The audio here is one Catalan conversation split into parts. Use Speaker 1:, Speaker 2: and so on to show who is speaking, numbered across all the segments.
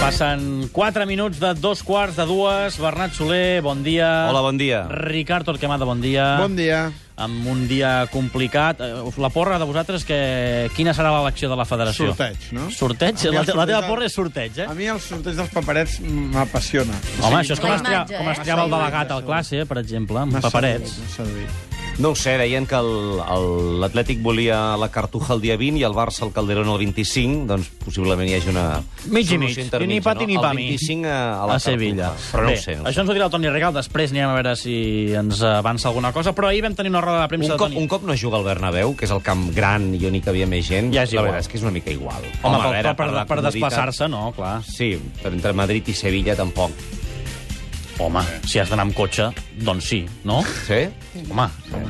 Speaker 1: Passen 4 minuts de dos quarts de dues. Bernat Soler, bon dia.
Speaker 2: Hola, bon dia.
Speaker 1: Ricard Torquemada, bon dia.
Speaker 3: Bon dia.
Speaker 1: Amb un dia complicat. Eh, La porra de vosaltres, que... quina serà l'elecció de la federació?
Speaker 3: Sorteig, no?
Speaker 1: Sorteig?
Speaker 3: A mi
Speaker 1: La,
Speaker 3: el
Speaker 1: te- la teva
Speaker 3: sorteig-
Speaker 1: porra és sorteig, eh?
Speaker 3: A mi el sorteig dels paperets m'apassiona.
Speaker 1: Home, això és com,
Speaker 4: La
Speaker 1: estria,
Speaker 4: imatge,
Speaker 1: com
Speaker 4: eh?
Speaker 1: estriava el
Speaker 3: La imatge,
Speaker 1: delegat al
Speaker 3: segur.
Speaker 1: classe, eh, per exemple, amb
Speaker 3: M'ha
Speaker 1: paperets.
Speaker 3: seduït, m'ha seduït.
Speaker 2: No ho sé, deien que el- el- l'Atlètic volia la Cartuja el dia 20 i el Barça el Calderón el 25, doncs possiblement hi hagi una...
Speaker 1: Mig i
Speaker 2: solució
Speaker 1: mig.
Speaker 2: intermitja,
Speaker 1: Ni pati
Speaker 2: no?
Speaker 1: ni
Speaker 2: El
Speaker 1: pami.
Speaker 2: 25 a, a la
Speaker 1: a Sevilla.
Speaker 2: Cartuja. Però no
Speaker 1: Bé,
Speaker 2: ho sé. No ho sé.
Speaker 1: Això ens ho dirà el Toni Regal, després anirem a veure si ens avança alguna cosa, però ahir vam tenir una roda de premsa
Speaker 2: Un
Speaker 1: de
Speaker 2: cop,
Speaker 1: Toni.
Speaker 2: un cop no es juga al Bernabéu, que és el camp gran i on hi cabia més gent,
Speaker 1: Ja és
Speaker 2: la
Speaker 1: igual.
Speaker 2: veritat és que és una mica igual.
Speaker 1: Home,
Speaker 2: a
Speaker 1: Home
Speaker 2: veure,
Speaker 1: per, per,
Speaker 2: la
Speaker 1: per
Speaker 2: comoditat-
Speaker 1: desplaçar-se, no, clar.
Speaker 2: Sí, però entre Madrid i Sevilla tampoc.
Speaker 1: Home, si has d'anar amb cotxe, doncs sí, no?
Speaker 2: Eh. Sí?
Speaker 1: Home,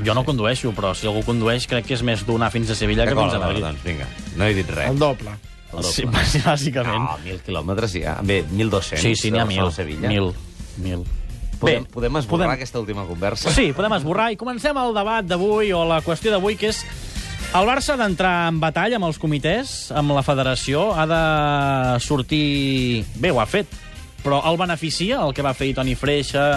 Speaker 1: jo no condueixo, però si algú condueix crec que és més dur anar fins a Sevilla que
Speaker 2: D'acord,
Speaker 1: fins a
Speaker 2: d'acord,
Speaker 1: Madrid.
Speaker 2: doncs vinga, no he dit res.
Speaker 3: El doble.
Speaker 2: El doble.
Speaker 1: Sí, bàs- bàsicament.
Speaker 2: No, mil quilòmetres hi ha. Bé, 1.200.
Speaker 1: sí, sí, n'hi ha
Speaker 2: de
Speaker 1: mil.
Speaker 2: Barcelona a Ah, Sevilla.
Speaker 1: Mil. Mil.
Speaker 2: Podem,
Speaker 1: Bé,
Speaker 2: podem esborrar podem... aquesta última conversa?
Speaker 1: Sí, podem esborrar i comencem el debat d'avui o la qüestió d'avui, que és el Barça ha d'entrar en batalla amb els comitès, amb la federació, ha de sortir... Bé, ho ha fet, però el beneficia el que va fer Toni Freixa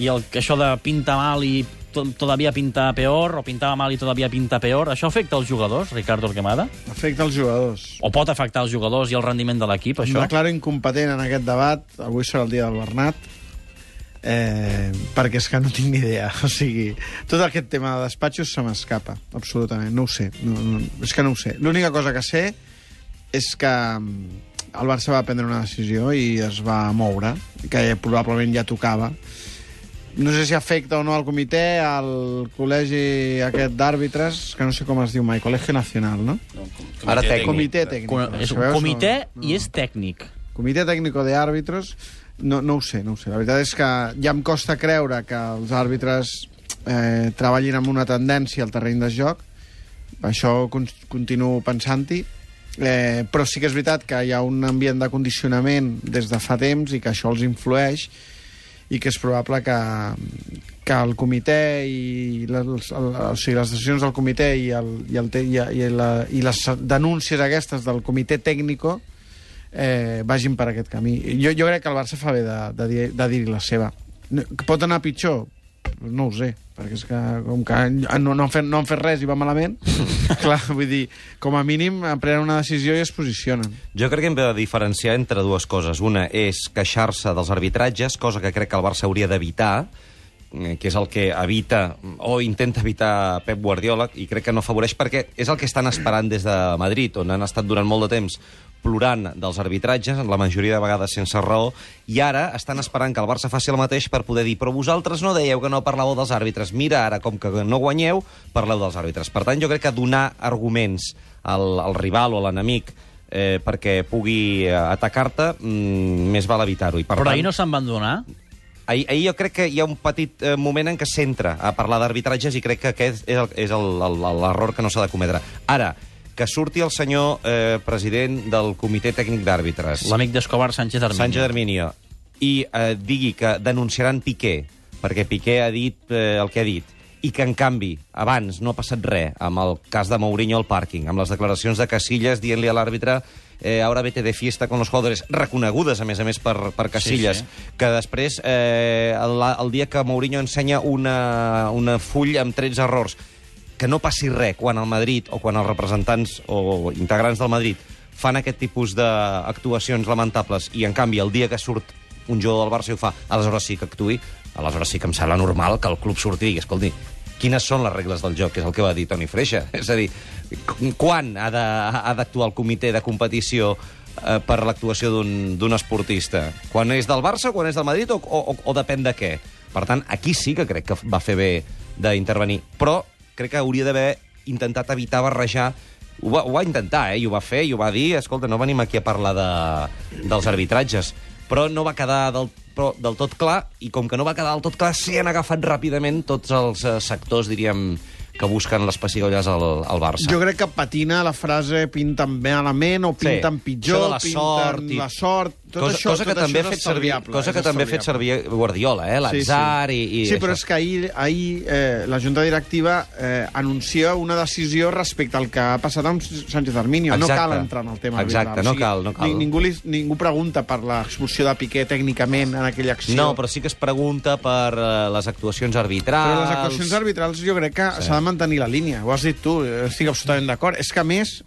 Speaker 1: i el, que això de pinta mal i to- todavía pinta peor, o pintava mal i todavía pinta peor, això afecta els jugadors, Ricardo Orquemada?
Speaker 3: Afecta els jugadors.
Speaker 1: O pot afectar els jugadors i el rendiment de l'equip,
Speaker 3: Em
Speaker 1: això?
Speaker 3: declaro incompetent en aquest debat. Avui serà el dia del Bernat. Eh, perquè és que no tinc ni idea. O sigui, tot aquest tema de despatxos se m'escapa, absolutament. No ho sé. No, no, és que no ho sé. L'única cosa que sé és que mm, el Barça va prendre una decisió i es va moure, que probablement ja tocava. No sé si afecta o no al comitè, al col·legi aquest d'àrbitres, que no sé com es diu mai, Col·legi Nacional, no?
Speaker 2: Ara tècnic.
Speaker 3: Comitè tècnic.
Speaker 1: Com- És un
Speaker 3: Sabeu?
Speaker 1: comitè
Speaker 3: No, no.
Speaker 1: i és tècnic.
Speaker 3: Comitè Tècnico de Àrbitros, no, no ho sé, no ho sé. La veritat és que ja em costa creure que els àrbitres eh, treballin amb una tendència al terreny de joc. Això con continuo pensant-hi. Eh, però sí que és veritat que hi ha un ambient de condicionament des de fa temps i que això els influeix i que és probable que, que el comitè i les, el, o sigui, les decisions del comitè i, el, i, el, te- i, i, la, i les denúncies aquestes del comitè tècnico eh, vagin per aquest camí. Jo, jo crec que el Barça fa bé de, de, dir, de dir la seva. No, que pot anar pitjor? No ho sé, perquè és que com que ah, no, no, han fet, no han fet res i va malament, clar, vull dir, com a mínim en prenen una decisió i es posicionen.
Speaker 2: Jo crec que hem de diferenciar entre dues coses. Una és queixar-se dels arbitratges, cosa que crec que el Barça hauria d'evitar, eh, que és el que evita o intenta evitar Pep Guardiola i crec que no afavoreix perquè és el que estan esperant des de Madrid, on han estat durant molt de temps plorant dels arbitratges, la majoria de vegades sense raó, i ara estan esperant que el Barça faci el mateix per poder dir però vosaltres no dèieu que no parlàveu dels àrbitres, mira ara com que no guanyeu, parleu dels àrbitres. Per tant, jo crec que donar arguments al, al rival o a l'enemic eh, perquè pugui eh, atacar-te, mm, més val evitar-ho. I, Per
Speaker 1: Però
Speaker 2: tant,
Speaker 1: ahir no se'n van donar.
Speaker 2: Ahir, ahir jo crec que hi ha un petit eh, moment en què s'entra a parlar d'arbitratges i crec que aquest és el- és el- el- l'error que no s'ha de cometre. Ara, que surti el senyor eh, president del Comitè Tècnic d'Àrbitres,
Speaker 1: L'amic d'Escobar, Sánchez Arminio.
Speaker 2: Sánchez Arminio, i eh, digui que denunciaran Piqué, perquè Piqué ha dit eh, el que ha dit, i que, en canvi, abans no ha passat res amb el cas de Mourinho al pàrquing, amb les declaracions de Casillas dient-li a l'àrbitre eh, ahora vete de fiesta con los jugadores, reconegudes, a més a més, per, per Casillas,
Speaker 1: sí.
Speaker 2: que després, eh, el, el dia que Mourinho ensenya una, una full amb 13 errors, que no passi res quan el Madrid o quan els representants o integrants del Madrid fan aquest tipus d'actuacions lamentables i, en canvi, el dia que surt un jugador del Barça i ho fa, aleshores sí que actui, aleshores sí que em sembla normal que el club surti i digui, escolti, quines són les regles del joc, que és el que va dir Toni Freixa. És a dir, qu- quan ha de- ha d'actuar el comitè de competició eh, per l'actuació d'un d'un esportista? Quan és del Barça, quan és del Madrid o, o, o- o depèn de què? Per tant, aquí sí que crec que va fer bé d'intervenir. Però crec que hauria d'haver intentat evitar barrejar ho va, ho va intentar, eh? I ho va fer, i ho va dir. Escolta, no venim aquí a parlar de, dels arbitratges. Però no va quedar del, però del tot clar, i com que no va quedar del tot clar, s'hi han agafat ràpidament tots els eh, sectors, diríem, que busquen les pessigolles al, al Barça.
Speaker 3: Jo crec que patina la frase pinten malament o pinten
Speaker 2: Sí, això de
Speaker 3: pitjor,
Speaker 2: la
Speaker 3: pinten
Speaker 2: sort i-
Speaker 3: la sort. tot
Speaker 2: cosa,
Speaker 3: això,
Speaker 2: cosa que
Speaker 3: tot
Speaker 2: també
Speaker 3: això
Speaker 2: ha
Speaker 3: és
Speaker 2: fet servir,
Speaker 3: estalviable,
Speaker 2: cosa
Speaker 3: és
Speaker 2: que també ha fet servir Guardiola, eh? l'atzar
Speaker 3: sí, sí.
Speaker 2: i, i
Speaker 3: Sí, però
Speaker 2: això.
Speaker 3: és que ahir, ahir eh, la Junta Directiva eh, anuncia una decisió respecte al que ha passat amb Sánchez Arminio. No
Speaker 2: Exacte.
Speaker 3: cal entrar en el tema.
Speaker 2: Exacte,
Speaker 3: arbitral.
Speaker 2: no cal, no cal.
Speaker 3: Ni, ningú, li, ningú pregunta per l'expulsió de Piqué tècnicament en aquella acció.
Speaker 2: No, però sí que es pregunta per eh, les actuacions arbitrals...
Speaker 3: Però les actuacions arbitrals jo crec que s'ha de mantenir la línia. Ho has dit tu, estic absolutament d'acord. És que, a més,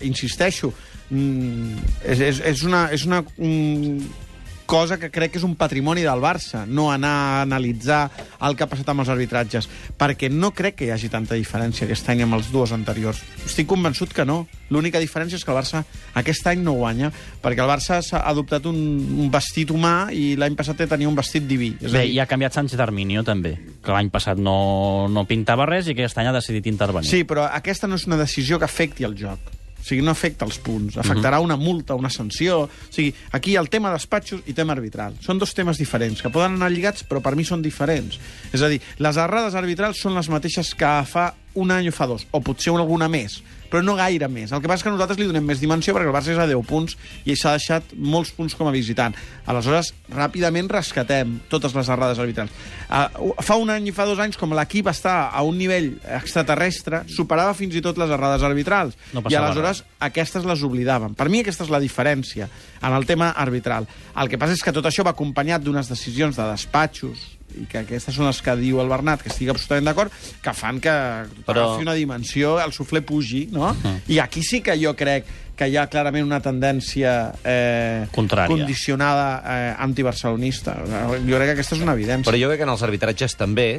Speaker 3: insisteixo, mm, és, és, és una, és una mm, cosa que crec que és un patrimoni del Barça, no anar a analitzar el que ha passat amb els arbitratges, perquè no crec que hi hagi tanta diferència aquest any amb els dues anteriors. Estic convençut que no. L'única diferència és que el Barça aquest any no guanya, perquè el Barça s'ha adoptat un, un vestit humà i l'any passat tenia un vestit diví. És a
Speaker 1: Bé,
Speaker 3: dir,
Speaker 1: i ha canviat Sánchez Arminio, també, que l'any passat no, no pintava res i aquest any ha decidit intervenir.
Speaker 3: Sí, però aquesta no és una decisió que afecti el joc. O sigui, no afecta els punts. Afectarà una multa, una sanció... O sigui, aquí hi ha el tema despatxos i tema arbitral. Són dos temes diferents, que poden anar lligats, però per mi són diferents. És a dir, les errades arbitrals són les mateixes que fa un any o fa dos, o potser alguna més, però no gaire més. El que passa és que nosaltres li donem més dimensió perquè el Barça és a 10 punts i s'ha deixat molts punts com a visitant. Aleshores, ràpidament rescatem totes les errades arbitrals. Uh, fa un any i fa dos anys, com l'equip està a un nivell extraterrestre, superava fins i tot les errades arbitrals.
Speaker 1: No
Speaker 3: I
Speaker 1: passava
Speaker 3: aleshores aquestes les oblidaven. Per mi aquesta és la diferència en el tema arbitral. El que passa és que tot això va acompanyat d'unes decisions de despatxos i que aquestes són les que diu el Bernat, que estic absolutament d'acord, que fan que
Speaker 2: Però-
Speaker 3: Però... agafi una dimensió, el suflé pugi, no?
Speaker 1: Mhm.
Speaker 3: I aquí sí que jo crec que hi ha clarament una tendència eh,
Speaker 1: Contrària.
Speaker 3: condicionada eh, antibarcelonista. Jo crec que aquesta és una evidència.
Speaker 2: Però jo crec que en els arbitratges també,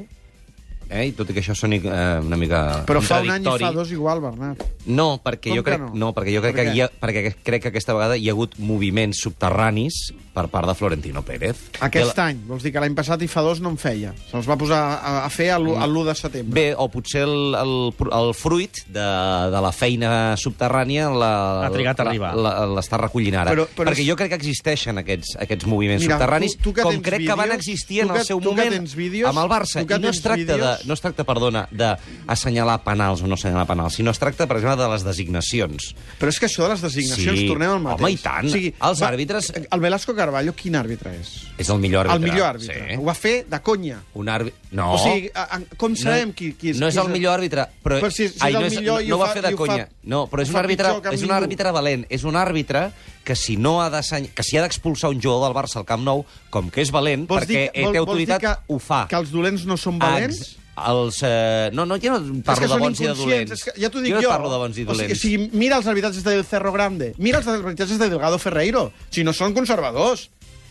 Speaker 2: eh? i tot i que això soni eh, una mica
Speaker 3: Però fa un any i
Speaker 2: contradictori-
Speaker 3: fa dos igual, Bernat.
Speaker 2: No, perquè
Speaker 3: Com
Speaker 2: jo
Speaker 3: que
Speaker 2: crec,
Speaker 3: no?
Speaker 2: no? perquè jo crec
Speaker 3: Per
Speaker 2: que
Speaker 3: què?
Speaker 2: hi ha, perquè crec que aquesta vegada hi ha hagut moviments subterranis per part de Florentino Pérez.
Speaker 3: Aquest
Speaker 2: I el-
Speaker 3: any, vols dir que l'any passat i fa dos no en feia. Se'ls va posar a, a fer a l'1 de setembre.
Speaker 2: Bé, o potser el, el, el fruit de, de la feina subterrània la-
Speaker 1: Ha trigat a
Speaker 2: la-
Speaker 1: arribar.
Speaker 2: la- l'està recollint ara.
Speaker 3: Però- però
Speaker 2: Perquè
Speaker 3: és-
Speaker 2: jo crec que existeixen aquests, aquests moviments subterranis,
Speaker 3: que
Speaker 2: com
Speaker 3: tens
Speaker 2: crec que van
Speaker 3: vídeos,
Speaker 2: existir
Speaker 3: tu
Speaker 2: en
Speaker 3: que-
Speaker 2: el seu
Speaker 3: tu que
Speaker 2: moment
Speaker 3: tens vídeos,
Speaker 2: amb el Barça.
Speaker 3: tu que
Speaker 2: I no es,
Speaker 3: tens
Speaker 2: tracta de,
Speaker 3: vídeos-
Speaker 2: no es tracta, perdona, d'assenyalar penals o no assenyalar penals, sinó es tracta, per exemple, de les designacions.
Speaker 3: Però és que això de les designacions,
Speaker 2: Sí.
Speaker 3: tornem al mateix.
Speaker 2: Home, i tant. Els àrbitres-
Speaker 3: El Velasco Carballo, quin àrbitre és?
Speaker 2: És el millor àrbitre.
Speaker 3: El millor àrbitre.
Speaker 2: Sí.
Speaker 3: Ho va fer de conya.
Speaker 2: Un àrbitre... No.
Speaker 3: O sigui, a, a, com sabem
Speaker 2: no,
Speaker 3: qui, qui és?
Speaker 2: No és
Speaker 3: qui
Speaker 2: el millor àrbitre, però...
Speaker 3: Però si- si és el
Speaker 2: no
Speaker 3: millor i
Speaker 2: no, no
Speaker 3: ho
Speaker 2: va
Speaker 3: fa-
Speaker 2: fer
Speaker 3: i
Speaker 2: de
Speaker 3: ho fa-
Speaker 2: conya. no, però és
Speaker 3: ho
Speaker 2: un,
Speaker 3: fa
Speaker 2: àrbitre,
Speaker 3: pitjor que
Speaker 2: és un
Speaker 3: ningú.
Speaker 2: àrbitre valent. És un àrbitre que si no ha de seny... que si ha d'expulsar un jugador del Barça al Camp Nou, com que és valent, perquè eh,
Speaker 3: que-
Speaker 2: té
Speaker 3: vols
Speaker 2: autoritat,
Speaker 3: dir
Speaker 2: ho fa.
Speaker 3: Que els dolents no són valents?
Speaker 2: Ex- Els, eh, no, no, jo no
Speaker 3: És
Speaker 2: parlo
Speaker 3: que
Speaker 2: de
Speaker 3: són
Speaker 2: bons i de
Speaker 3: inconscients,
Speaker 2: dolents.
Speaker 3: És que, ja t'ho dic
Speaker 2: jo
Speaker 3: jo.
Speaker 2: no parlo de bons i dolents.
Speaker 3: O sigui, o sigui, mira els arbitratges del Cerro Grande, mira els arbitratges de Delgado Ferreiro. Si no són conservadors,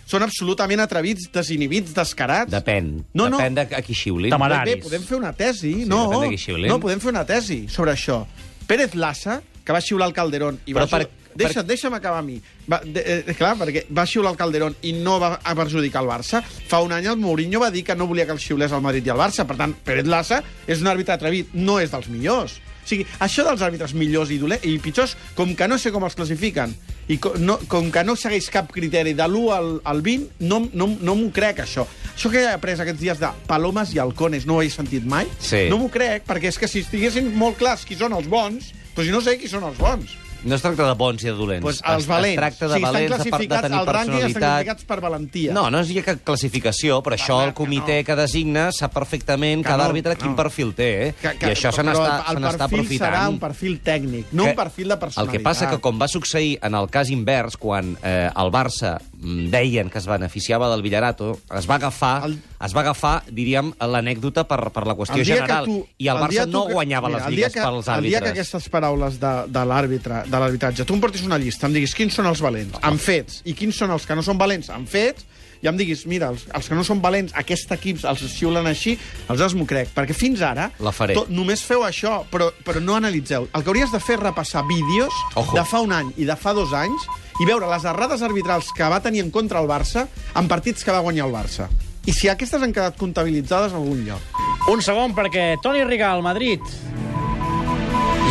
Speaker 3: són absolutament atrevits, desinhibits, descarats.
Speaker 2: Depèn.
Speaker 3: No, no.
Speaker 2: Depèn de a qui xiulin.
Speaker 1: Tamara- Horaris.
Speaker 3: Bé, bé, podem fer una tesi,
Speaker 2: Sí,
Speaker 3: no?
Speaker 2: depèn de qui xiulin.
Speaker 3: No, podem fer una tesi sobre això. Pérez Lassa, que va xiular el Calderón i va
Speaker 2: Però per-
Speaker 3: ajudar- Deixa, deixa'm acabar a mi. Va, de, eh, clar, perquè va xiular el Calderón i no va a perjudicar el Barça. Fa un any el Mourinho va dir que no volia que el xiulés el Madrid i el Barça. Per tant, Pérez Lassa és un àrbitre atrevit, no és dels millors. O sigui, això dels àrbitres millors i, dolents, i pitjors, com que no sé com els classifiquen, i com, no, com que no segueix cap criteri de l'1 al, al 20, no, no, no m'ho crec, això. Això que he après aquests dies de palomes i halcones, no ho he sentit mai?
Speaker 2: Sí.
Speaker 3: No m'ho crec, perquè és que si estiguessin molt clars qui són els bons, però si no sé qui són els bons.
Speaker 2: No es tracta de bons i de dolents.
Speaker 3: Pues
Speaker 2: Es-
Speaker 3: Doncs els valents.
Speaker 2: Es tracta de
Speaker 3: o sigui,
Speaker 2: valents, de,
Speaker 3: estan
Speaker 2: per- de
Speaker 3: classificats,
Speaker 2: tenir
Speaker 3: al rànquing estan
Speaker 2: personalitat.
Speaker 3: classificats per valentia.
Speaker 2: No, no és hi ha cap classificació, però això
Speaker 3: Clar
Speaker 2: el
Speaker 3: que
Speaker 2: comitè
Speaker 3: no.
Speaker 2: que designa sap perfectament
Speaker 3: Que
Speaker 2: cada
Speaker 3: no,
Speaker 2: àrbitre
Speaker 3: que
Speaker 2: quin
Speaker 3: no.
Speaker 2: perfil té, eh? I això se
Speaker 3: però
Speaker 2: n'està se
Speaker 3: el-
Speaker 2: n'està
Speaker 3: El perfil
Speaker 2: aprofitant.
Speaker 3: serà un perfil tècnic, no
Speaker 2: Que-
Speaker 3: un perfil de
Speaker 2: El
Speaker 3: personalitat.
Speaker 2: que passa que, com va succeir en el cas invers, quan eh, el Barça mm, deien que es beneficiava del Villarato, es va agafar,
Speaker 3: El-
Speaker 2: es va agafar diríem, l'anècdota per, per la qüestió
Speaker 3: El dia que
Speaker 2: general. I el,
Speaker 3: dia
Speaker 2: Barça
Speaker 3: tu
Speaker 2: no
Speaker 3: que-
Speaker 2: guanyava
Speaker 3: mira,
Speaker 2: les
Speaker 3: el dia
Speaker 2: lligues
Speaker 3: que-
Speaker 2: pels
Speaker 3: El dia que
Speaker 2: àrbitres.
Speaker 3: aquestes paraules de, de l'àrbitre, de l'arbitratge, tu em portis una llista, em diguis quins són els valents, amb fets, i quins són els que no són valents, amb fets, i em diguis, mira, els, els que no són valents, aquest equip els xiulen així, aleshores m'ho crec. Perquè fins ara
Speaker 2: La faré.
Speaker 3: només feu això, però, però no analitzeu. El que hauries de fer és repassar vídeos
Speaker 2: Ojo.
Speaker 3: de fa un any i de fa dos anys i veure les errades arbitrals que va tenir en contra el Barça en partits que va guanyar el Barça. I si aquestes han quedat comptabilitzades en algun lloc.
Speaker 1: Un segon, perquè Toni Rigal, Madrid.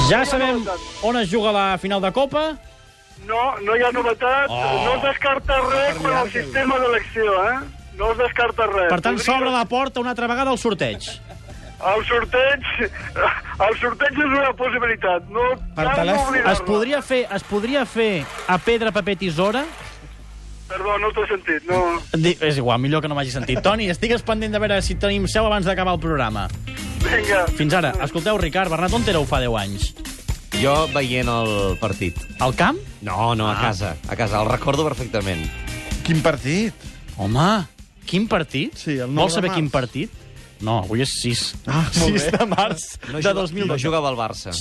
Speaker 1: Ja sabem on es juga la final de Copa.
Speaker 4: No, no hi ha novetat.
Speaker 1: Oh.
Speaker 4: Oh. No es descarta res per al sistema d'elecció, eh? No es descarta res.
Speaker 1: Per tant,
Speaker 4: Podria-
Speaker 1: s'obre la porta una altra vegada al sorteig.
Speaker 4: El sorteig... El sorteig és una possibilitat. No
Speaker 3: Per
Speaker 4: cal
Speaker 3: telèfon.
Speaker 4: oblidar-la.
Speaker 1: Es podria fer, es podria fer a pedra, paper, tisora?
Speaker 4: Perdó, no t'he sentit. No...
Speaker 1: Di- És igual, millor que no m'hagi sentit. Toni, estigues pendent de veure si tenim seu abans d'acabar el programa.
Speaker 4: Vinga.
Speaker 1: Fins ara. Escolteu, Ricard, Bernat Montero ho fa 10 anys.
Speaker 2: Jo veient el partit.
Speaker 1: Al camp?
Speaker 2: No,
Speaker 3: Ah.
Speaker 2: no, a casa. A casa, el recordo perfectament.
Speaker 3: Quin partit?
Speaker 1: Home, quin partit?
Speaker 3: Sí, el nou
Speaker 1: Vols
Speaker 3: de
Speaker 1: saber
Speaker 3: març.
Speaker 1: quin partit? No, avui és 6.
Speaker 3: Ah,
Speaker 1: 6
Speaker 3: molt bé.
Speaker 1: de març
Speaker 2: No
Speaker 1: de
Speaker 2: juga-
Speaker 1: 2012.
Speaker 2: No jugava al Barça.